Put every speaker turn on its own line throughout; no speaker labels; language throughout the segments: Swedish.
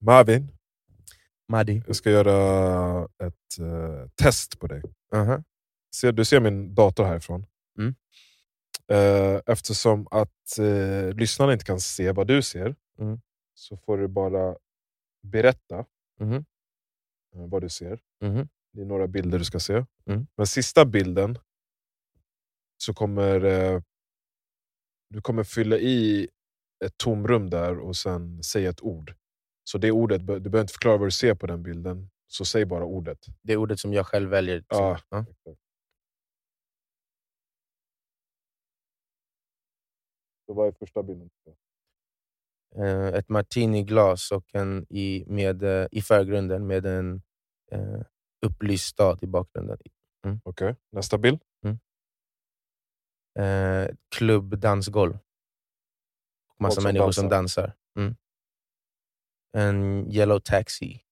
Marvin,
Maddy.
jag ska göra ett eh, test på dig. Ser, du ser min dator härifrån.
Mm.
Eh, eftersom att eh, lyssnarna inte kan se vad du ser
Mm.
så får du bara berätta
Mhm.
eh, vad du ser.
Mhm.
Det är några bilder du ska se.
Mm.
Men sista bilden så kommer eh, du kommer fylla i ett tomrum där och sen säga ett ord. Så det ordet, be- du behöver inte förklara vad du ser på den bilden, så säg bara ordet.
Det är ordet som jag själv väljer. liksom.
Ja.
Ja.
Så vad är första bilden?
Eh, ett martiniglas och en i, med, eh, i förgrunden med en eh, upplyst stad i bakgrunden.
Okej, nästa bild.
Eh, klubb, dansgolv. Och massa
som
människor som dansar. Mm. En yellow taxi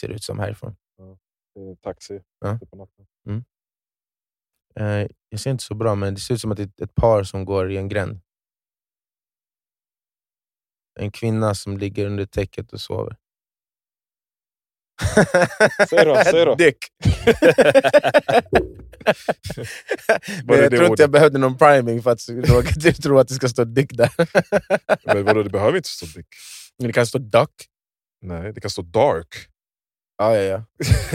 ser det ut som härifrån.
Eh, Taxi.
Ja.
På natten.
Eh, jag ser inte så bra, men det ser ut som att det är ett par som går i en gränd. En kvinna som ligger under täcket och sover.
Säg då, säg då.
Dick!
Var
men
det
jag
det
tror
ordet?
inte jag behövde någon priming för att du tror att det ska stå dick där.
Men vadå, det behöver inte stå dick.
Men det kan stå duck.
Nej, det kan stå dark.
Ja, ja, ja.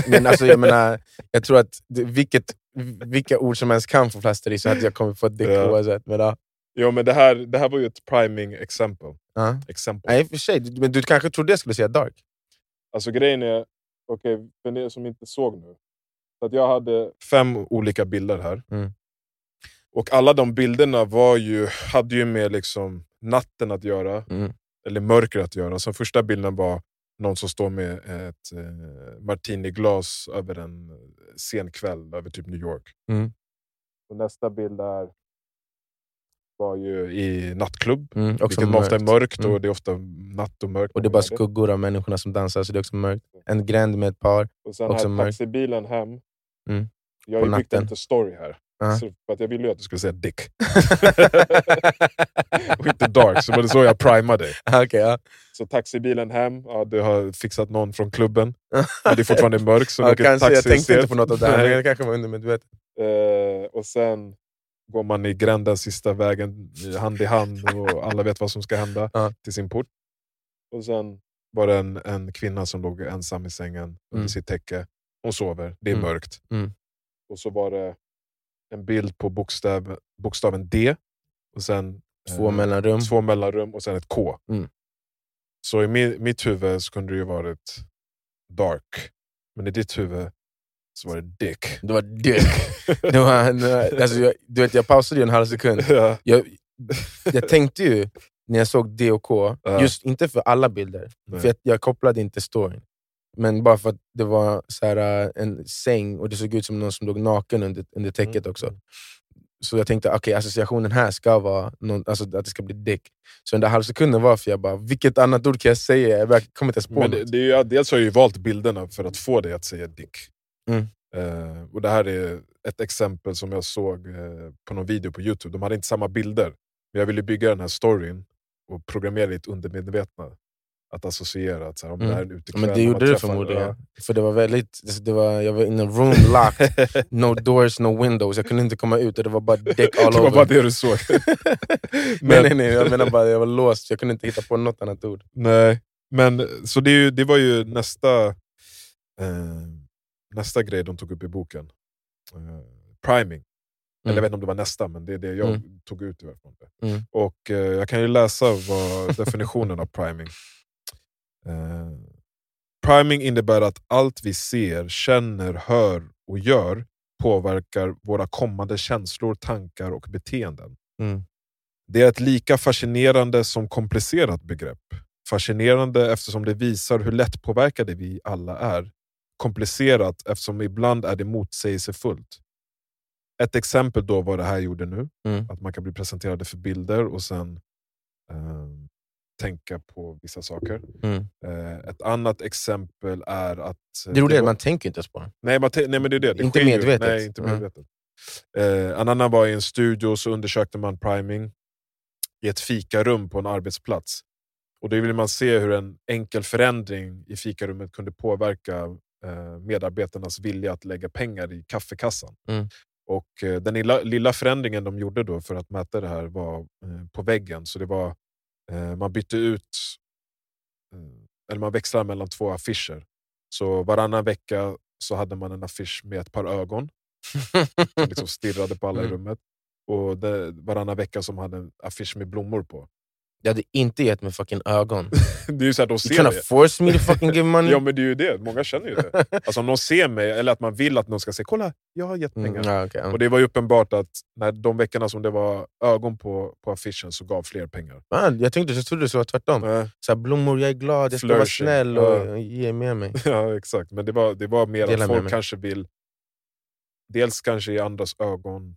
Men alltså, jag menar, jag tror att det- vilket, vilka ord som ens kan få plaster i så att jag kommer få dick
Ja.
oavsett. Men, ja.
Jo, men det här, det här var ju ett priming exempel.
Ja.
exempel.
Nej, i och för sig. du- Men du kanske trodde jag skulle säga dark?
Alltså grejen är, okej, för ni som inte såg nu. Så att jag hade fem olika bilder här.
Mm.
Och alla de bilderna var ju, hade ju med liksom natten att göra,
Mm.
eller mörker att göra. Så första bilden var någon som står med ett eh, martiniglas över en eh, sen kväll över typ New York.
Mm.
Och nästa bild är, var ju i nattklubb,
Mm, också
vilket ofta är mörkt
mörkt.
och
Mm.
det är ofta natt och mörkt.
Och det är bara skuggor av människorna som dansar, så det är också mörkt. En gränd med ett par.
Och sen
Också
här
mörkt.
taxibilen hem.
Mm.
Jag
På
har ju byggt en
natten.
liten story här.
Ja.
Så för att jag ville ju att du skulle säga dick. och inte dark, så det var så jag primade dig.
Okej, ja.
Så taxibilen hem, ja, du har fixat någon från klubben. Men det är fortfarande mörkt, så du
ja,
åker
kanske,
taxi
jag tänkte
istället.
inte på något av det här, men
Nej.
det kanske var undermedvetet.
Eh, och sen går man i gränden sista vägen, i hand i hand, och alla vet vad som ska hända
Ja.
till sin port. Och sen var det en, en kvinna som låg ensam i sängen under
Mm.
sitt täcke. Hon sover, det är
Mm.
mörkt.
Mm.
Och så var det en bild på bokstav, bokstaven D, och sen
Två
eh,
mellanrum.
två mellanrum och sen ett K.
Mm.
Så i mi, mitt huvud så kunde det ju varit dark, men i ditt huvud så var det dick.
Det var dick. Det var, det var, alltså, jag, du vet, jag pausade ju en halv sekund.
Ja.
Jag, jag tänkte ju, när jag såg D och K,
Ja.
just inte för alla bilder,
Nej.
för jag, jag kopplade inte storyn. Men bara för att det var så här, äh, en säng och det såg ut som någon som låg naken under, under täcket
Mm,
också. Så jag tänkte okay, associationen här ska vara någon, alltså, att det ska bli dick. Så den där halvsekunden var för jag bara, vilket annat ord kan jag säga? Jag verkar- kommer inte ens på
Men det,
något.
det är ju, dels har jag ju valt bilderna för att få dig att säga dick.
Mm.
Eh, och Det här är ett exempel som jag såg eh, på någon video på Youtube. De hade inte samma bilder, men jag ville bygga den här storyn och programmera ditt undermedvetna. Att associera att så här, om det
Mm.
här är en utekväll.
Men det
om man
gjorde du
träffar-
förmodligen.
ja.
För det var väldigt, alltså, det var, jag var in a room locked, no doors, no windows. Jag kunde inte komma ut och det var bara dick all
det var
over.
bara det du såg. Men-
nej, nej, nej, jag menar bara att jag var låst, så jag kunde inte hitta på något annat ord.
Nej, men så det, är ju, det var ju nästa, eh, nästa grej de tog upp i boken. Eh, priming. Eller jag vet inte om det var nästa, men det är det jag tog ut ifrån det.
Mm.
Och eh, jag kan ju läsa vad definitionen av priming. Eh, priming innebär att allt vi ser, känner, hör och gör påverkar våra kommande känslor, tankar och beteenden.
Mm.
Det är ett lika fascinerande som komplicerat begrepp. Fascinerande eftersom det visar hur lättpåverkade vi alla är. Komplicerat eftersom ibland är det motsägelsefullt. Ett exempel då vad det här gjorde nu,
Mm.
att man kan bli presenterade för bilder och sen eh, tänka på vissa saker.
Mm.
Eh, ett annat exempel är att... eh,
Det roliga är att
var-
man tänker inte ens på det.
Nej, man te- nej, men det är det. det
Inte
sker ju.
medvetet.
Nej, inte
Mm.
medvetet. Eh, en annan var i en studio så undersökte man priming i ett fikarum på en arbetsplats. Och då vill man se hur en enkel förändring i fikarummet kunde påverka eh, medarbetarnas vilja att lägga pengar i kaffekassan.
Mm.
Och eh, Den lilla, lilla förändringen de gjorde då för att mäta det här var eh, på väggen. Så det var, eh, man bytte ut, eh, eller man växlade mellan två affischer. Så varannan vecka så hade man en affisch med ett par ögon som
Typ
liksom stirrade på alla i
Mm.
rummet. Och det, varannan vecka som hade en affisch med blommor på.
Jag hade inte gett mig fucking ögon.
Det är ju så att de
You
ser
gonna
det.
force me to fucking give money?
Ja, men det är ju det. Många känner ju det. Alltså om någon ser mig, eller att man vill att någon ska säga “kolla, jag har gett pengar”.
Mm, ja, okej, ja.
Och det var ju uppenbart att när de veckorna som det var ögon på, på affischen så gav fler pengar.
Man, jag tänkte, jag trodde det skulle vara tvärtom. Så här, blommor, jag är glad, jag ska vara
Flourishing.
snäll
Ja.
och ge med mig.
Ja, exakt. Men det var, det var mer
Dela
att
med
folk
mig.
kanske vill, dels kanske i andras ögon,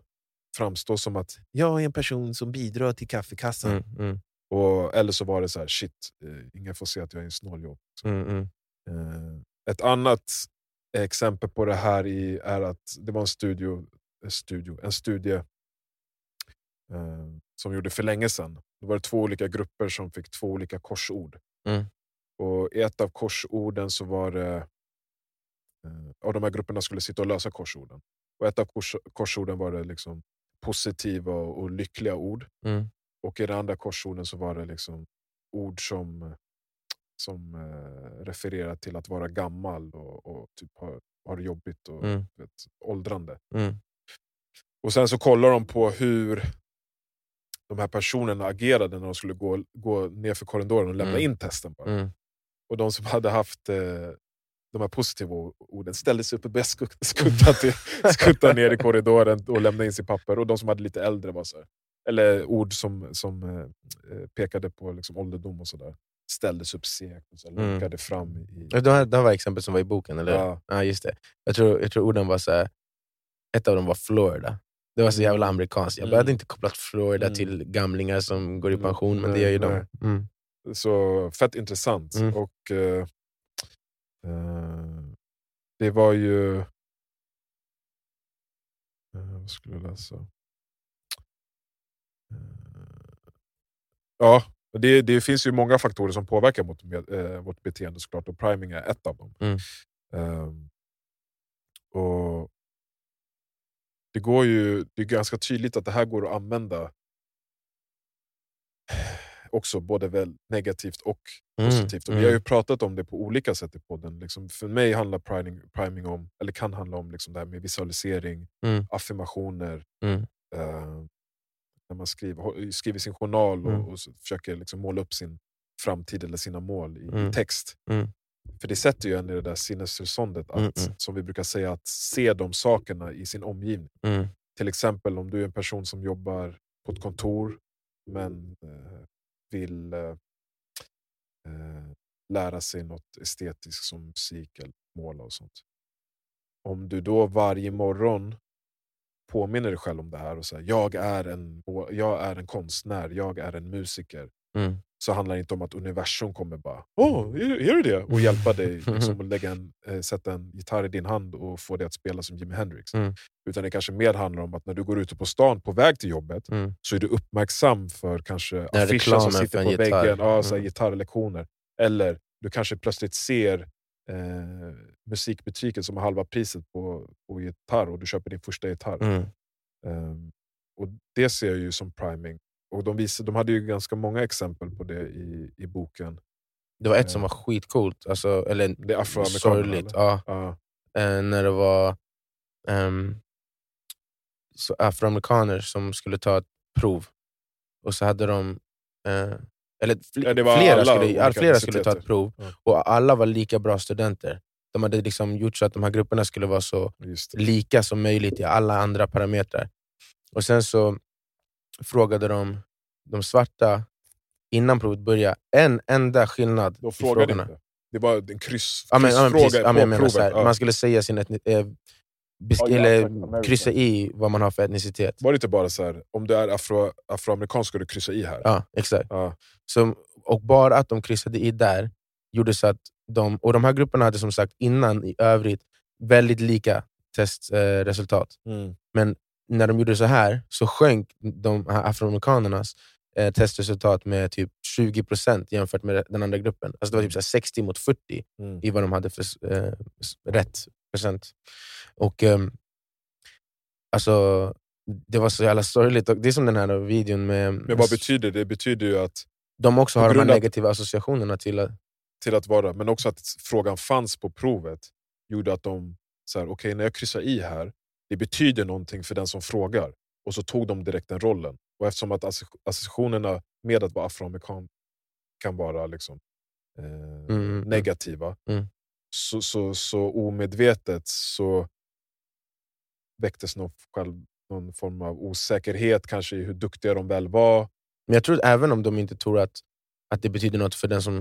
framstå som att jag är en person som bidrar till kaffekassan.
Mm, mm,
Och, eller så var det så här, shit, eh, ingen får se att jag är en snåljåp.
mm, mm.
Eh, Ett annat exempel på det här i, är att det var en, studio, en studio, en studie eh, som gjorde för länge sedan. Det var två olika grupper som fick två olika korsord.
Mm.
Och I ett av korsorden så var det... Eh, och de här grupperna skulle sitta och lösa korsorden. Och ett av kors, korsorden var det liksom positiva och, och lyckliga ord.
Mm.
Och i det andra korsorden så var det liksom ord som, eh, som eh, refererar till att vara gammal och, och typ ha, ha det jobbigt och
Mm.
du vet, åldrande.
Mm.
Och sen så kollar de på hur de här personerna agerade när de skulle gå, gå ner för korridoren och lämna
Mm.
in testen. Bara.
Mm.
Och de som hade haft eh, de här positiva o- orden ställde sig upp och började
Mm.
skut- skutta, till, skutta ner i korridoren och lämna in sitt papper. Och de som hade lite äldre var så här, eller ord som, som eh, eh, pekade på liksom ålderdom och sådär, ställdes upp segt och så här,
Mm.
lunkade fram. I,
Det, här, det här var exempel som var i boken, eller hur?
ja,
Ja, just det. Jag tror, jag tror orden var så här, ett av dem var Florida. Det var så jävla amerikanskt. Jag
Mm.
hade inte kopplat Florida
Mm.
till gamlingar som går i
Mm.
pension, men det
Nej,
gör ju
nej.
de. Mm.
så fett intressant.
Mm.
Och eh, eh, Det var ju... Eh, vad skulle jag läsa? Eh, ja, det, det finns ju många faktorer som påverkar mot, med, eh, vårt beteende såklart, och priming är ett av dem.
Mm.
Ehm, och det, går ju, det är ganska tydligt att det här går att använda också både väl negativt och positivt. Och
Mm.
Vi har ju pratat om det på olika sätt i podden. Liksom, för mig handlar priming, priming om, eller kan handla om liksom det här med visualisering,
Mm.
affirmationer,
Mm.
eh, när man skriver, skriver sin journal och,
Mm.
och så försöker liksom måla upp sin framtid eller sina mål i, i
Mm.
text.
Mm.
För det sätter ju en i det där sinnestillståndet, att,
Mm, mm.
som vi brukar säga, att se de sakerna i sin omgivning.
Mm.
Till exempel om du är en person som jobbar på ett kontor men eh, vill eh, eh, lära sig något estetiskt som musik eller måla och sånt. Om du då varje morgon påminner dig själv om det här och säger jag är en, jag är en konstnär, jag är en musiker
Mm.
så handlar det inte om att universum kommer bara Åh, är, är du det? och hjälpa dig liksom, att lägga en, eh, sätta en gitarr i din hand och få dig att spela som Jimi Hendrix.
Mm.
Utan det kanske mer handlar om att när du går ute på stan på väg till jobbet
Mm.
så är du uppmärksam för kanske affischer
reklamen
som
för
sitter
en
på
gitarr.
väggen, ja, så här,
Mm.
gitarrlektioner. Eller du kanske plötsligt ser eh, musikbutiken som har halva priset på, på gitarr och du köper din första gitarr.
Mm.
Ehm, och Det ser jag ju som priming. Och de, visade, de hade ju ganska många exempel på det i, i boken.
Det var
Ja.
ett som var skitcoolt, alltså, eller
Det är afroamerikanerna.
sorgligt.
eller?
Ja.
Ja.
eh, när det var ehm, så afroamerikaner som skulle ta ett prov. Och så hade de... Eh, eller fl-
Ja, det var
flera,
alla
skulle,
olika
ja, flera skulle ta
universiteter.
ett prov,
Ja.
och alla var lika bra studenter. De hade liksom gjort så att de här grupperna skulle vara så
Just det.
lika som möjligt i alla andra parametrar. Och Sen så frågade de de svarta, innan provet började, en enda skillnad
De
i
frågade
frågorna.
inte. Det var en kryss,
Ja, men, ja, men,
kryssfråga
precis, ja, men, jag
på
menar,
provet.
så här,
Ja.
Man skulle säga sin etni- eh, besk-
Ja, ja,
eller
exakt, American.
kryssa i vad man har för etnicitet.
Var det inte bara så här, om du är afro, afroamerikan ska du kryssa i här?
Ja, exakt.
Ja.
Så, och bara att de kryssade i där gjorde så att de... Och de här grupperna hade som sagt innan i övrigt väldigt lika testresultat. Eh, resultat.
Mm.
När de gjorde så här så sjönk de här afroamerikanernas eh, testresultat med typ 20% jämfört med den andra gruppen. Alltså det var typ så här 60 mot 40
Mm.
i vad de hade för eh, s- rätt procent. Och, ehm, alltså, det var så jävla sorgligt. Och det är som den här videon med...
Men vad betyder det? Det betyder ju att,
de också har de här
grund att-
negativa associationerna till att...
till att vara, men också att frågan fanns på provet gjorde att de, så här, okej när jag kryssar i här, det betyder någonting för den som frågar. Och så tog de direkt den rollen. Och eftersom att asso- associationerna med att vara afroamerikan kan vara liksom, eh,
Mm, mm.
negativa,
Mm.
så, så, så omedvetet så väcktes någon, själv, någon form av osäkerhet kanske i hur duktiga de väl var.
Men jag tror att även om de inte tror att, att det betyder något för den som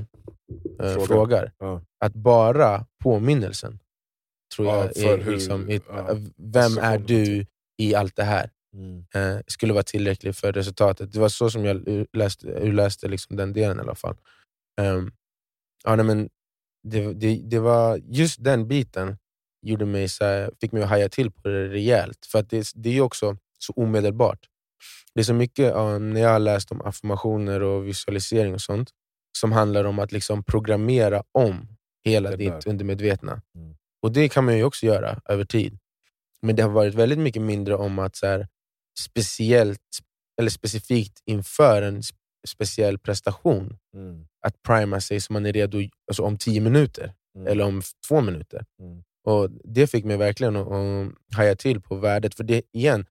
eh,
Frågar.
frågar,
Ja.
att bara påminnelsen tror
Ja,
jag
för
är,
hur-
liksom, är,
ja,
vem är
associationerna till-
du i allt det här?
Mm,
eh, skulle vara tillräcklig för resultatet. Det var så som jag ur- läste, urläste liksom den delen i alla fall. Ehm, ja, nej, men det, det, det var just den biten gjorde mig så här, fick mig att haja till på det rejält. För att det, det är ju också så omedelbart. Det är så mycket, ja, när jag har läst om affirmationer och visualisering och sånt, som handlar om att liksom programmera om hela
Det
ditt
där.
undermedvetna.
Mm.
Och det kan man ju också göra över tid. Men det har varit väldigt mycket mindre om att så här, speciellt eller specifikt inför en sp- speciell prestation,
Mm.
att prima sig så man är redo alltså om tio minuter
Mm.
eller om f- två minuter.
Mm.
Och Det fick mig verkligen att, att haja till på värdet. För det, igen,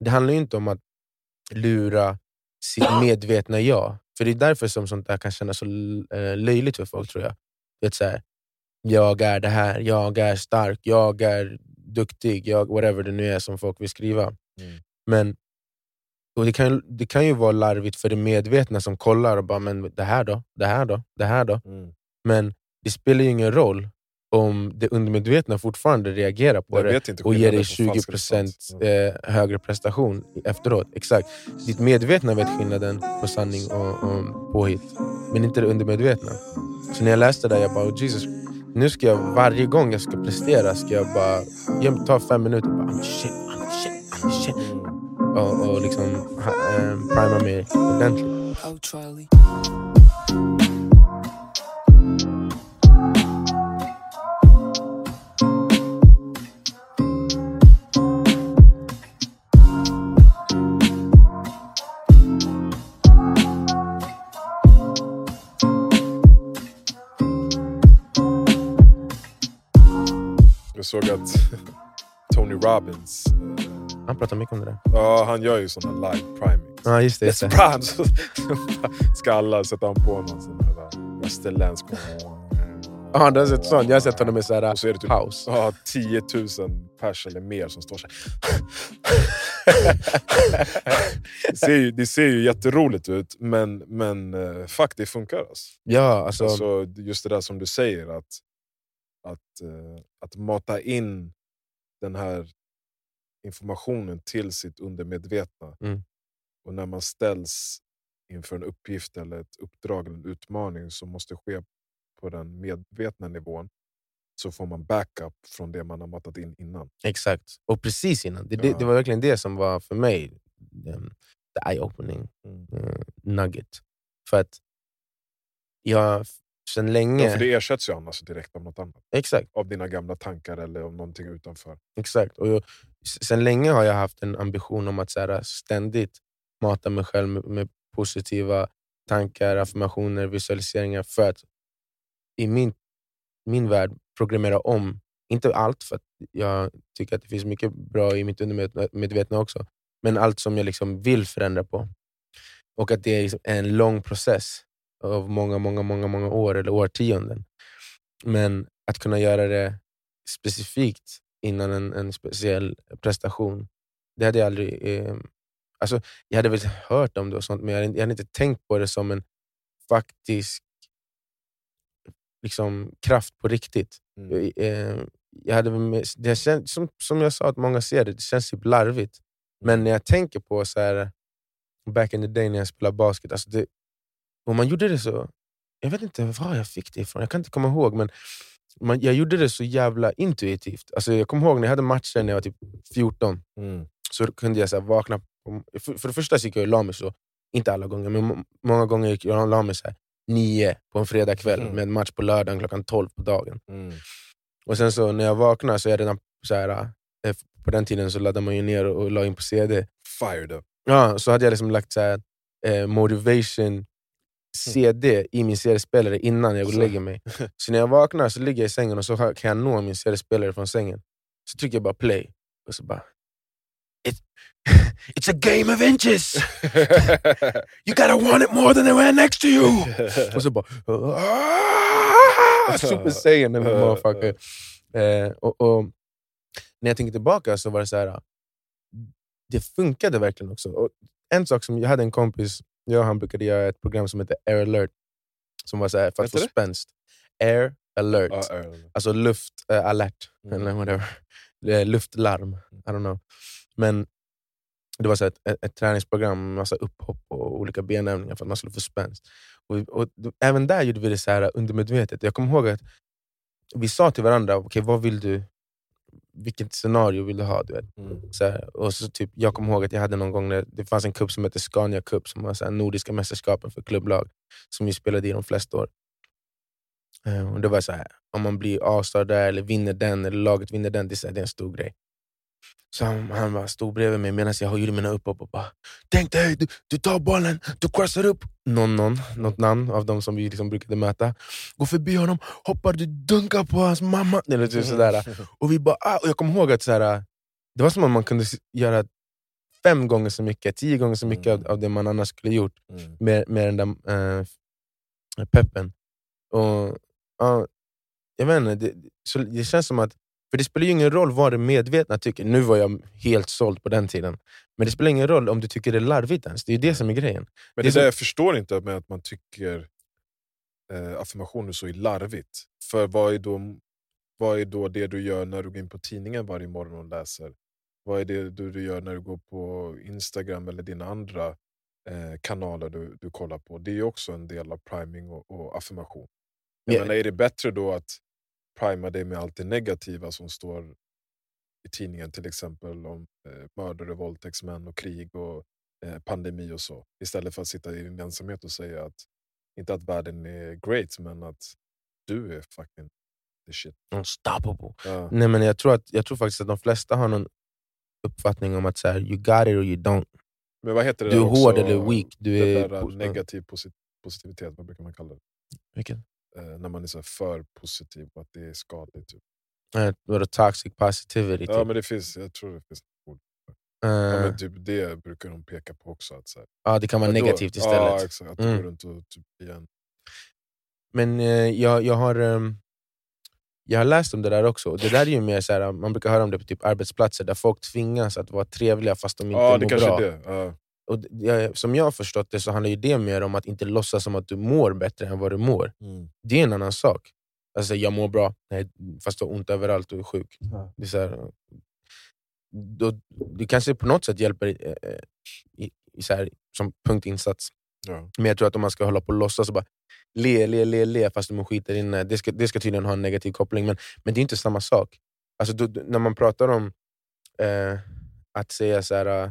det handlar ju inte om att lura sitt medvetna jag. För det är därför som sånt där kan kännas så l- eh, löjligt för folk, tror jag. Du vet, så här, jag är det här, jag är stark, jag är duktig, jag, whatever det nu är som folk vill skriva.
Mm.
Men och det, kan, ju- det kan ju vara larvigt för det medvetna som kollar och bara, men det här då? Det här då? Det här då?
Mm.
Men det spelar ju ingen roll om det undermedvetna fortfarande reagerar på
Jag
det
vet inte
och ger dig
skillnaden på falsk respons.
20% eh, högre prestation efteråt. Exakt. Ditt medvetna vet skillnaden på sanning och, och påhitt, men inte det undermedvetna. Så när jag läste det där, jag bara, oh, Jesus, nu ska jag varje gång jag ska prestera, ska jag bara jag ta fem minuter och bara, I'm shit, I'm shit, I'm shit. Och, och liksom ha- eh, prima mig ordentligt.
Oh, Charlie.
Jag såg att eh, Tony Robbins, eh,
Han pratar mycket om det där.
ja, han gör ju såna live primings.
Ja, just det. Just
It's
det.
prime! Så Ska alla sätta han på någon sån här eh, där västerländsk...
Ja, du har sett sånt. Jag har sett honom i så här,
Och så är det typ
house.
ja, 10 000 pers eller mer som står så här. det, ser ju, det ser ju jätteroligt ut, men, men eh, fuck, det funkar. Alltså.
Ja, alltså,
Alltså, just det där som du säger, att, att, eh, att mata in den här informationen till sitt undermedvetna.
Mm.
Och när man ställs inför en uppgift, eller ett uppdrag eller en utmaning som måste ske på den medvetna nivån så får man backup från det man har matat in innan.
Exakt. Och precis innan. Det, det,
Ja.
det var verkligen det som var för mig um, the eye-opening
Mm.
eh, nugget. För att jag f- sedan länge...
Ja, för det ersätts ju annars direkt av något annat.
Exakt.
Av dina gamla tankar eller av någonting utanför.
exakt. Och jag, s- sen länge har jag haft en ambition om att så här, ständigt mata mig själv med, med positiva tankar, affirmationer, visualiseringar för att i min, min värld programmera om, inte allt för att jag tycker att det finns mycket bra i mitt undermedvetna också, men allt som jag liksom vill förändra på. Och att det är liksom en lång process av många, många, många, många år eller årtionden. Men att kunna göra det specifikt innan en, en speciell prestation, det hade jag aldrig... Eh, alltså, jag hade väl hört om det och sånt, men jag hade, jag hade inte tänkt på det som en faktisk liksom, kraft på riktigt.
Mm.
Jag, eh, jag hade, väl med- det känns, som, som jag sa, att många ser det, det känns typ
Mm.
larvigt. Men när jag tänker på så här, back in the day när jag spelade basket, alltså det, och man gjorde det så... Jag vet inte var jag fick det ifrån, jag kan inte komma ihåg. Men man, jag gjorde det så jävla intuitivt. Alltså jag kommer ihåg när jag hade matcher när jag var typ 14,
Mm.
så kunde jag så här vakna. på- För, för det första så gick jag och la mig så inte alla gånger, men må- många gånger gick jag och la mig så här, nio på en fredagkväll
Mm.
med en match på lördagen klockan tolv på dagen.
Mm.
Och sen så när jag vaknade så är jag redan så här, eh, på den tiden så laddade man ju ner och, och la in på CD.
Fired up.
Ja, så hade jag liksom lagt så här, eh, motivation CD i min CD-spelare innan jag går och
Så.
lägger mig. Så när jag vaknar så ligger jag i sängen och så har- kan jag nå min CD-spelare från sängen. Så trycker jag bara play. Och så bara... It, it's a game of inches! You gotta want it more than the man next to you! Och så bara... "Ah!" Super saiyan den här motherfucker. Eh, och, och, när jag tänker tillbaka så var det så här... Det funkade verkligen också. Och en sak som Jag hade en kompis, jag och han brukade göra ett program som hette Air alert. Som var så här, för att
Hette
få
det?
spänst. Air alert.
Ja, Erland.
Alltså luft eh, alert.
Mm.
Eller whatever. Eh, Luftlarm. I don't know. Men det var så här ett, ett, ett träningsprogram med massa upphopp och olika benövningar för att man skulle få spänst. Och, vi- och, d- även där gjorde vi det så här undermedvetet. Jag kommer ihåg att vi sa till varandra, okay, vad vill du, vilket scenario vill du ha? Du vet?
Mm.
Så här, och så typ, jag kommer ihåg att jag hade någon gång, när det fanns en cup som hette Scania Cup, som var så här, Nordiska mästerskapen för klubblag, som vi spelade i de flesta år. Eh, Och det var så här, om man blir A-star där, eller vinner den, eller laget vinner den, det är, så här, det är en stor grej. Så han, han bara stod bredvid mig medan jag gjorde mina upphopp och bara Tänk dig, du, du tar bollen, du crossar upp någon, någon, något namn av de som vi liksom brukade möta. Går förbi honom, hoppar, du dunkar på hans mamma. Eller typ
Mm.
sådär.
äh,
Och vi bara, ah, och jag kommer ihåg att så här, det var som om man kunde s- göra fem gånger så mycket, tio gånger så mycket av,
Mm.
av det man annars skulle gjort
Mm.
med, med den där eh, peppen. Och, ja, jag vet inte, det, så, det känns som att, för det spelar ju ingen roll vad det medvetna tycker. Nu var jag helt såld på den tiden. Men det spelar ingen roll om du tycker det är larvigt ens. Det är ju det som är grejen.
Men
Det är
det
så-
där jag förstår inte med att man tycker eh, affirmationer så är larvigt. För vad är, då, vad är då det du gör när du går in på tidningen varje morgon och läser? Vad är det du, du gör när du går på Instagram eller dina andra eh, kanaler du, du kollar på? Det är ju också en del av priming och, och affirmation. Jag
Ja.
menar, är det bättre då att prima dig med allt det negativa som står i tidningen till exempel om eh, mördare, våldtäktsmän och krig och eh, pandemi och så. Istället för att sitta i din ensamhet och säga att, inte att världen är great, men att du är fucking the shit.
Unstoppable.
Ja,
Mm, Nej, men jag, tror att, jag tror faktiskt att de flesta har någon uppfattning om att så här, you got it or you don't.
Men vad heter det
Du är
där också?
hård eller weak. Du
Det
är...
där eh,
po-
negativ posi- positivitet, vad brukar man kalla det?
Vilken?
Eh, när man är så här för positiv och att det är skadligt. Typ.
Eh, Vadå, toxic positivity?
Ja,
typ.
men det finns, jag tror det finns.
Eh,
Ja, men typ det brukar de peka på också. Att så här,
ja, det kan vara
vadå?
negativt
Ja,
istället.
exakt. Att du
Mm.
går runt och typ igen.
Men eh, jag, jag, har, ehm, jag har läst om det där också. Och det där är ju mer så här, äh, Man brukar höra om det på typ arbetsplatser där folk tvingas att vara trevliga fast de inte
Ja, det
mår
kanske
bra.
är det. Ja.
Och det- jag, som jag har förstått det så handlar ju det mer om att inte låtsas som att du mår bättre än vad du mår.
Mm.
Det är en annan sak. Alltså, jag mår bra, Nej, fast du har ont överallt och är sjuk.
Ja.
Det, är så här, då, det kanske på något sätt hjälper eh, eh, i, i så här, som punktinsats.
Ja.
Men jag tror att om man ska hålla på och låtsas och bara le, le, le, le fast man skiter inne. Det ska, det ska tydligen ha en negativ koppling, men, men det är inte samma sak. Alltså, då, då- när man pratar om eh, att säga så här... eh,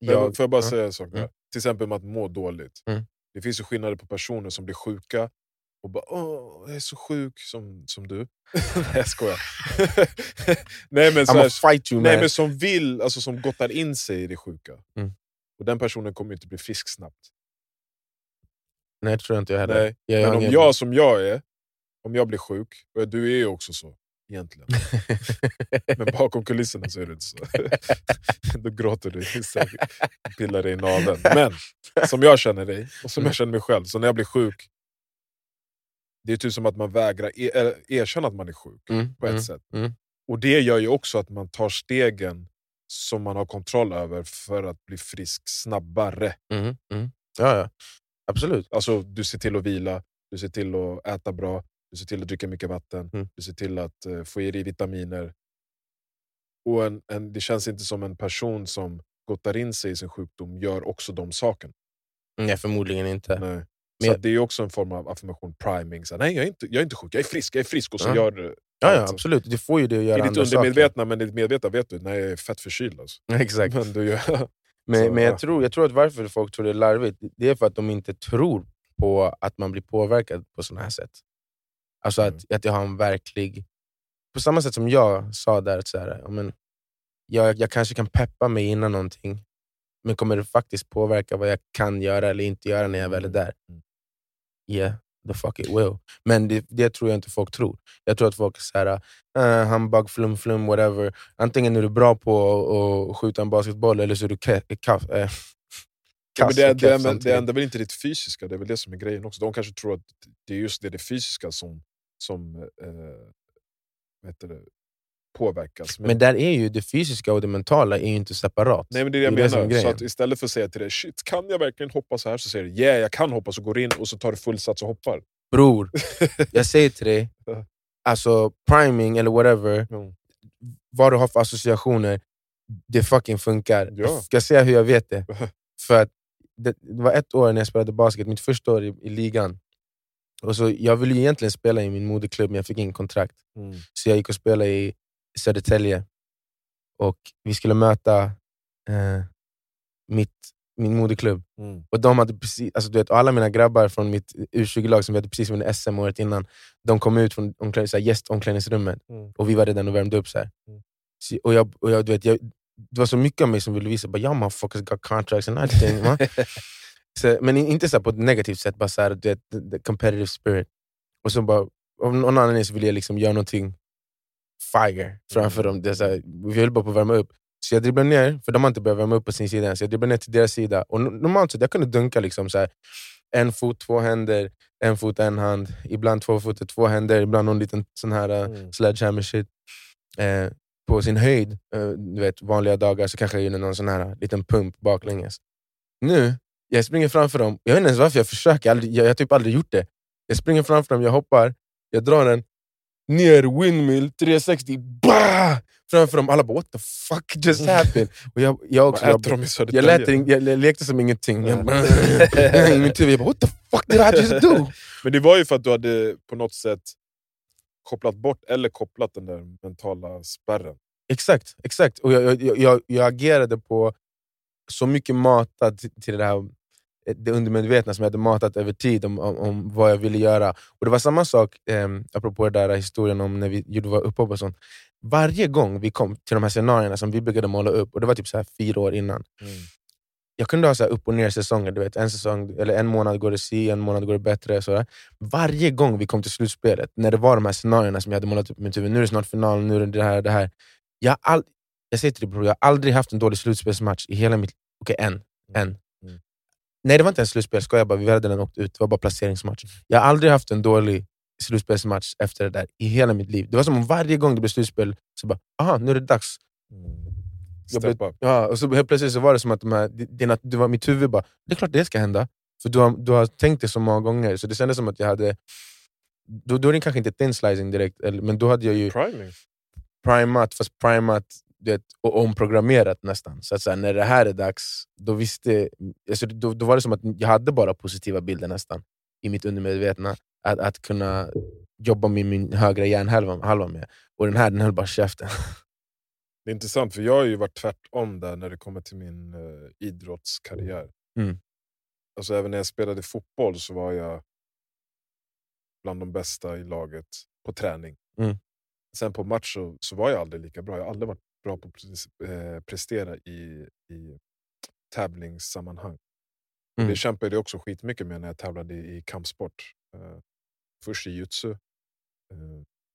Men
jag-
får jag bara
ja.
säga en sak? där?
Mm.
Till exempel med att må dåligt.
Mm.
Det finns ju skillnader på personer som blir sjuka och bara “Åh, jag är så sjuk” som, som du. nej, jag skojar. nej, men, så
I'ma
här,
fight you man.
nej, men som vill, alltså som gottar in sig i det sjuka.
Mm.
Och den personen kommer ju inte bli frisk snabbt.
Nej, det tror jag inte jag heller.
Nej.
Jag,
Men
har
om
ingen-
jag som jag är, om jag blir sjuk, och du är ju också så egentligen. Men bakom kulisserna så är du inte så. Då gråter du istället pillar dig i naveln. Men som jag känner dig, och som jag känner mig själv, så när jag blir sjuk, det är typ som att man vägrar e- eller erkänna att man är sjuk
Mm,
på ett
mm.
sätt. Och det gör ju också att man tar stegen som man har kontroll över för att bli frisk snabbare.
Mm, mm. Ja, ja. Absolut.
Alltså, du ser till att vila, du ser till att äta bra, du ser till att dricka mycket vatten,
Mm.
du ser till att eh, få i dig vitaminer. Och en, en, det känns inte som en person som gottar in sig i sin sjukdom gör också de sakerna. Mm.
Nej, förmodligen inte.
Nej.
Men-
Så att det är också en form av affirmation, priming. Så här, nej, jag är, inte, jag är inte sjuk, jag är frisk, jag är frisk. Och så
Ja.
gör du
Ja, ja,
Alltså,
absolut. Du får ju det att
det
göra
är ditt
andra saker.
undermedvetna, men ditt medvetna vet du, nej, jag är fett förkyld. Alltså.
Exakt.
Men du gör,
Men,
Så,
men
ja.
jag, tror, jag tror att varför folk tror det är larvigt, det är för att de inte tror på att man blir påverkad på sådana här sätt. Alltså att,
Mm.
att jag har en verklig... På samma sätt som jag sa där, att så här, ja, men, jag, jag kanske kan peppa mig innan någonting, men kommer det faktiskt påverka vad jag kan göra eller inte göra när jag väl är där?
Mm.
Yeah, the fuck it will. Men det, det tror jag inte folk tror. Jag tror att folk är såhär, uh, handbag, flum, flum, whatever. Antingen är du bra på att skjuta en basketboll eller så är du ke- kaff, eh,
Ja, men
kass
det,
och
det,
keff
det, det
samtidigt.
ändrar väl inte ditt fysiska, det är väl det som är grejen också. De kanske tror att det är just det, det fysiska som, som eh, vad heter det, påverkas.
Men där är ju det fysiska och det mentala är ju inte separat.
nej, men det är det jag
det är det som är
menar. Så
grejen.
att istället för att säga till dig shit, kan jag verkligen hoppa så här? Så säger du yeah, jag kan hoppa, så går du in och så tar du full sats och hoppar.
Bror, jag säger till dig,
Ja.
alltså priming eller whatever,
Mm.
vad du har för associationer, det fucking funkar.
Ja.
Jag ska säga hur jag vet det. För att det, det var ett år när jag spelade basket, mitt första år i, i ligan. Och så, jag ville ju egentligen spela i min moderklubb, men jag fick ingen kontrakt.
mm,
Så jag gick och spelade i Södertälje. Och vi skulle möta eh, mitt, min moderklubb.
Mm.
Och de hade precis, alltså du vet, alla mina grabbar från mitt U20-lag som vi hade precis vunnit SM året innan, de kom ut från omklädning, så här, gästomklädningsrummet
Mm.
och vi var redan och värmde upp. Så här.
Mm.
Så, och jag, och jag, du vet, jag, det var så mycket av mig som ville visa bara, yeah, man fuckers got contracts and everything. man." så, men i- inte så här på ett negativt sätt, bara så här, du vet, the, the competitive spirit. Och så bara, av någon anledning så ville jag liksom göra någonting fire framför dem. Det är så här, vi höll bara på att värma upp. Så jag dribblade ner, för de har inte börjat värma upp på sin sida än, så jag dribblade ner till deras sida. Och no- normalt sett, jag kunde dunka liksom så här, en fot, två händer, en fot, en hand. Ibland två fötter, två händer, ibland någon liten sån här... eh,
Mm.
sledgehammer shit. Eh, på sin höjd, eh, du vet, vanliga dagar, så kanske jag gjorde någon sån här liten pump baklänges. Nu, jag springer framför dem. Jag vet inte ens varför jag försöker. Jag, har aldrig- jag, jag har typ aldrig gjort det. Jag springer framför dem, jag hoppar, jag drar den ner, windmill, 360, bah! Framför dem. Alla bara what the fuck just happened? Och jag, jag, också,
Vad
jag,
äter de i
jag,
Södertälje?
lät, in- jag, jag lekte som ingenting. Jag, bara, i mitt huvud, jag bara what the fuck did I just do?
Men det var ju för att du hade på något sätt kopplat bort eller kopplat den där mentala spärren.
Exakt, exakt. Och jag, jag- jag, jag, jag agerade på så mycket matad till, till det här eh, det undermedvetna som jag hade matat över tid om, om, om vad jag ville göra. Och Det var samma sak, eh, apropå den där historien om när vi gjorde våra upphopp och sånt. Varje gång vi kom till de här scenarierna som vi brukade måla upp, och det var typ så här fyra år innan,
Mm,
jag kunde ha så här upp och ner säsonger. Du vet, en, säsong, eller en månad går det si, en månad går det bättre. Så där. Varje gång vi kom till slutspelet, när det var de här scenarierna som jag hade målat upp i mitt huvud. Nu är det snart final, nu är det det här det här. Jag, har all, jag säger till dig bror, jag har aldrig haft en dålig slutspelsmatch i hela mitt Okej, en. en.
Mm.
Nej, det var inte en slutspel. Skojar bara, vi hade den åkt ut. Det var bara placeringsmatch. Jag har aldrig haft en dålig slutspelsmatch efter det där i hela mitt liv. Det var som om varje gång det blev slutspel, så bara, aha, nu är det dags. Jag
mm. Step up.
Ja, och så helt plötsligt så var det som att de här, dina, det var mitt huvud bara, det är klart det ska hända. För du har, du har tänkt det så många gånger, så det kändes som att jag hade... Då, då är det kanske inte thin slicing direkt, eller- men då hade jag ju
Priming.
primat, fast primat du vet, och omprogrammerat nästan. Så att så här, när det här är dags, då visste... Alltså, då, då var det som att jag hade bara positiva bilder nästan i mitt undermedvetna. Att, att kunna jobba med min högra hjärnhalva halva med. Och den här, den höll bara käften.
Det är intressant, för jag har ju varit tvärtom där när det kommer till min eh, idrottskarriär.
Mm.
Alltså, även när jag spelade fotboll så var jag bland de bästa i laget på träning.
Mm.
Sen på match så, så var jag aldrig lika bra. Jag har aldrig varit bra på att pres- eh, prestera i, i tävlingssammanhang. Och
Mm.
Det kämpade jag också skitmycket med när jag tävlade i kampsport. Eh, först i jutsu eh,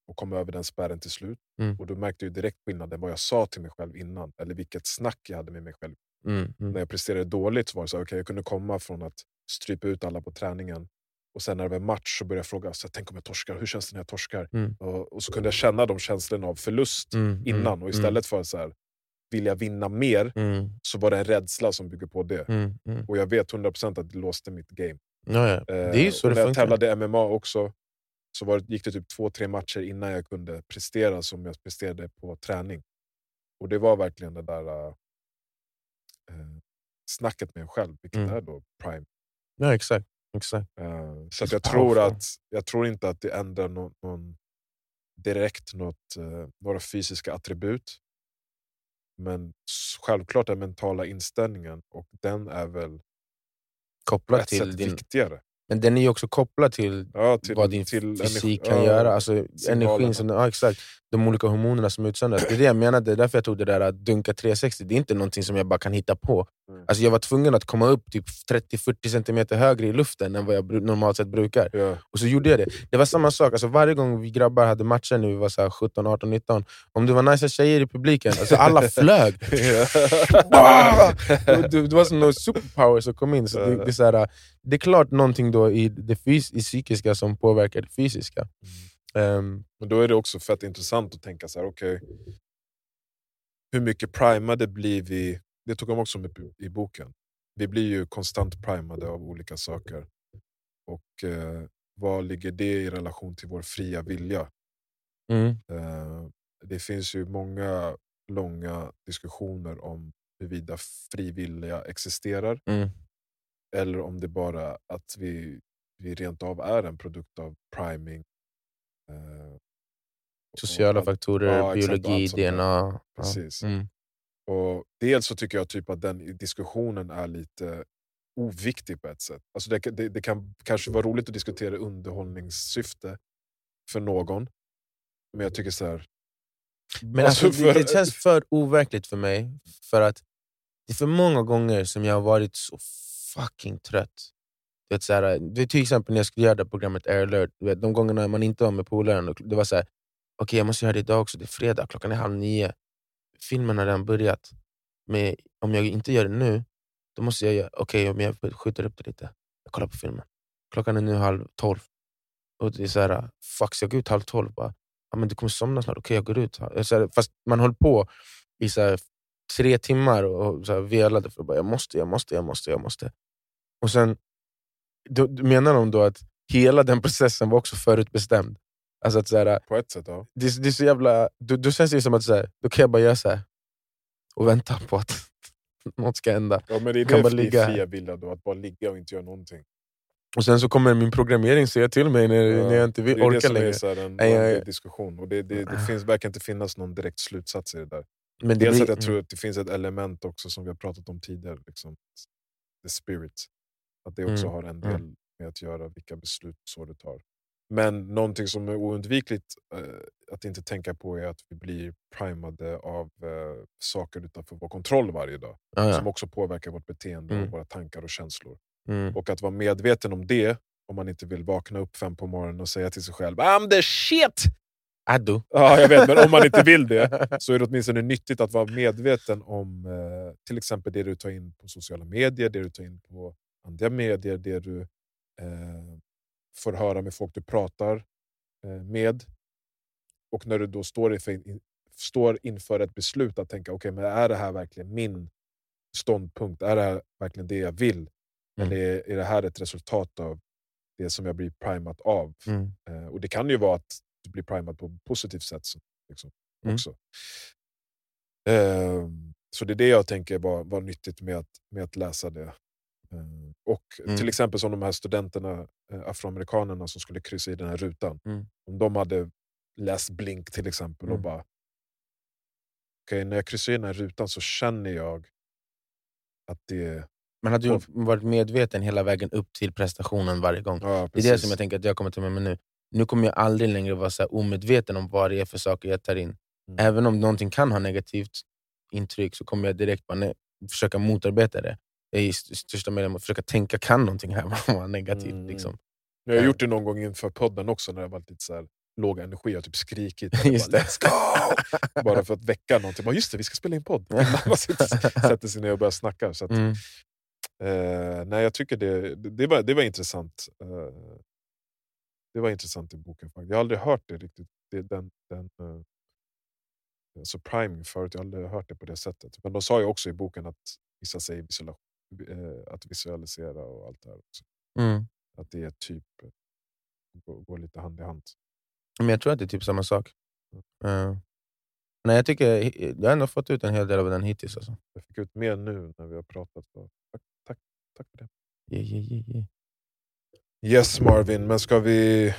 och kom över den spärren till slut.
Mm.
Och då märkte jag ju direkt skillnaden vad jag sa till mig själv innan. Eller vilket snack jag hade med mig själv.
Mm, mm,
När jag presterade dåligt så var det så här, okej, jag kunde komma från att strypa ut alla på träningen. Och sen när det var match så började jag fråga, så här, tänk om jag torskar? Hur känns det när jag torskar?
Mm.
Och, och så kunde jag känna de känslorna av förlust
mm,
innan.
mm,
Och istället för att så här, vilja vinna mer
Mm,
så var det en rädsla som bygger på det.
mm, mm.
Och jag vet 100% att det låste mitt game.
Ja, ja.
Eh,
Det är ju så
och
det
när jag
funkar.
tävlade MMA också så var det, gick det typ två, tre matcher innan jag kunde prestera som jag presterade på träning. Och det var verkligen det där eh, snacket med en själv, vilket
Mm.
är då prime.
Ja, exakt. exakt.
Eh, så att
It's
jag, tror
powerful.
att, jag tror inte att det ändrar någon, någon direkt något, eh, några fysiska attribut. Men s- självklart är mentala inställningen och den är väl på
Kopplat
ett
till
sätt
din,
viktigare.
men den är ju också kopplad till,
Ja, till,
vad din
till
fysik
energi-
kan
ja,
göra. Alltså,
signalerna.
energin som, ja, exakt. De olika hormonerna som utsöndras. Det är det jag menade. Det är därför jag tog det där att dunka 360. Det är inte någonting som jag bara kan hitta på.
Mm.
Alltså, jag var tvungen att komma upp typ 30-40 centimeter högre i luften än vad jag bru- normalt sett brukar.
Ja,
Och så gjorde jag det. Det var samma sak. Alltså, varje gång vi grabbar hade matcher när vi var så här 17, 18, 19. Om det var nice tjejer i publiken, alltså, alla flög. Bah! det, det var som någon superpower som kom in. Så det, det, är så här, det är klart någonting då i det fys- i psykiska som påverkar det fysiska.
Mm.
Ehm,
Men då är det också fett intressant att tänka så här, okej, hur mycket primade blir vi? Det tog de också upp i- i boken. Vi blir ju konstant primade av olika saker. Och eh, vad ligger det i relation till vår fria vilja?
mm,
Eh, det finns ju många långa diskussioner om huruvida fri vilja existerar
mm,
eller om det bara att vi, vi rent av är en produkt av priming. Eh, och
sociala
allt-
faktorer,
ja, exakt, och
biologi,
allt sånt där.
DNA.
Precis.
Ja. Mm.
Och dels så tycker jag typ att den i diskussionen är lite oviktig på ett sätt. Alltså det, det, det kan kanske vara roligt att diskutera underhållningssyfte för någon. Men jag tycker så här...
Men alltså, det, det känns för overkligt för mig. För att det är för många gånger som jag har varit så fucking trött. Du vet, så här, det är till exempel när jag skulle göra det här programmet Air alert. Du vet, de gångerna man inte var med polaren, och det var så här, okej jag måste göra det idag också, det är fredag, klockan är halv nio. Filmen har redan börjat. Men om jag inte gör det nu, då måste jag göra, okej men jag skjuter upp det lite. Jag kollar på filmen. Klockan är nu halv tolv. Och det är så här, fuck, ska jag går ut halv tolv. Bara, ja, men du kommer somna snart, okej jag går ut. Jag Så här, fast man höll på i så här, tre timmar och så här, velade för att bara, jag måste, jag måste, jag måste. jag måste. Och sen då, då menar de då att hela den processen var också förutbestämd. Alltså att så här,
På ett sätt, ja.
det, är- det är så jävla... Då, då känns det ju som att så här, då kan jag bara göra så här och vänta på att något ska hända.
ja men det är
Kan
det
bara
fri-
ligga här.
fria vilja då, att bara ligga och inte göra någonting.
Och sen så kommer min programmering säga till mig när,
Ja,
när jag inte
Det
vill,
är det
orkar
som är
längre.
så här en
Nej, jag- Ah.
vanlig diskussion. Och det, det, det finns, verkar inte finnas någon direkt slutsats i det där.
Men det
Dels
blir- mm.
att jag tror att det finns ett element också som vi har pratat om tidigare. Liksom, the spirit. Att det också
Mm,
har en del
mm.
med att göra vilka beslut så du tar. Men någonting som är oundvikligt eh, att inte tänka på är att vi blir primade av eh, saker utanför vår kontroll varje dag.
Mm. Ja,
Som
ja.
också påverkar vårt beteende,
Mm.
och våra tankar och känslor.
Mm.
Och att vara medveten om det om man inte vill vakna upp fem på morgonen och säga till sig själv I'm the shit!
Addo.
Ja, jag vet, men om man inte vill det så är det åtminstone nyttigt att vara medveten om eh, till exempel det du tar in på sociala medier, det du tar in på andra medier, det du eh, får höra med folk du pratar eh, med. Och när du då står, inför, in, står inför ett beslut att tänka, okej, men är det här verkligen min ståndpunkt? Är det här verkligen det jag vill?
Mm.
Eller är, är det här ett resultat av det som jag blir primat av?
Mm.
Eh, och det kan ju vara att du blir primad på ett positivt sätt så- liksom,
Mm.
också. Ehm, så det är det jag tänker var, var nyttigt med att, med att läsa det. Ehm, och
Mm.
till exempel som de här studenterna, eh, afroamerikanerna som skulle kryssa i den här rutan.
Mm.
Om de hade läst Blink till exempel och
Mm.
bara Okej, när jag kryssar i den här rutan så känner jag att det...
Man hade ju
Mm.
varit medveten hela vägen upp till prestationen varje gång.
Ja,
Det är det som jag tänker att jag kommer ta med mig nu. Nu kommer jag aldrig längre vara så här omedveten om vad det är för saker jag tar in.
Mm.
Även om någonting kan ha negativt intryck så kommer jag direkt bara, nej, försöka motarbeta det. Jag är i st- största möjliga att försöka tänka, kan någonting här vara negativt?
Mm.
Liksom.
Men Jag har gjort det någon gång inför podden också när det har varit lite så här låg energi. Jag har typ skrikit jag
Just
bara,
det.
Let's go! bara för att väcka någonting. Bara, just det, vi ska spela in podd. Innan man sitter- sätter sig ner och börjar snacka. Så att,
Mm.
eh, nej, jag tycker det, det, det, var, det var intressant. Eh, det var intressant i boken. faktiskt. Jag har aldrig hört det riktigt. Det, den, den, eh, alltså priming förut. Jag har aldrig hört det på det sättet. Men de sa ju också i boken att vissa säger visuala- eh, att visualisera och allt det här. Också.
Mm.
Att det är typ eh, går, går lite hand i hand.
Men jag tror att det är typ samma sak.
Mm.
Eh, nej, jag, tycker, eh, jag har ändå fått ut en hel del av den hittills. Alltså.
Jag fick ut mer nu när vi har pratat. Så Tack, tack, tack för det.
Yeah, yeah, yeah, yeah.
Yes Marvin, men ska vi,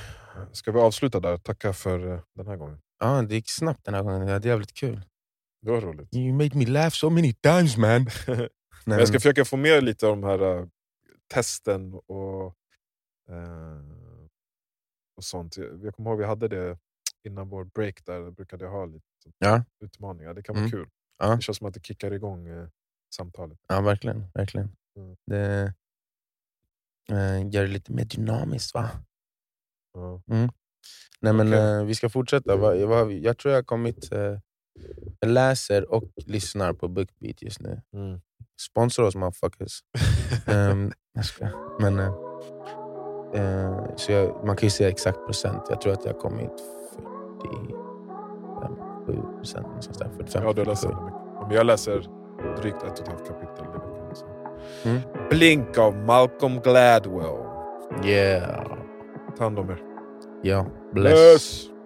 ska vi avsluta där? Tacka för eh, den här gången.
Ja, det gick snabbt den här gången. Det är jävligt kul.
Det var roligt.
You made me laugh so many times man. Nej,
Men jag ska försöka få med lite av de här eh, testen och, eh, och sånt. Jag jag kommer ihåg vi hade det innan vår break, där brukade jag ha lite
Ja.
utmaningar. Det kan vara
Mm.
kul.
Ja.
Det känns som att det kickar igång eh, samtalet.
Ja, verkligen. verkligen.
Mm.
Det eh, gör det lite mer dynamiskt va?
Ja.
Nej, men,
Okej.
eh, vi ska fortsätta. Va, va, jag tror jag har kommit... Eh, jag läser och lyssnar på BookBeat just nu.
Mm.
Sponsra oss motherfuckers. um, jag skojar. Men, eh, eh, så jag, man kan ju säga exakt procent. Jag tror att jag har kommit 47 procent. någonstans där. 45,
Ja, du läser
47.
ändå mycket. Om jag läser drygt ett och ett halvt kapitel i veckan. så.
Mm.
Blink av Malcolm Gladwell.
Yeah.
Ta hand om er.
Ja. Bless.
Bless.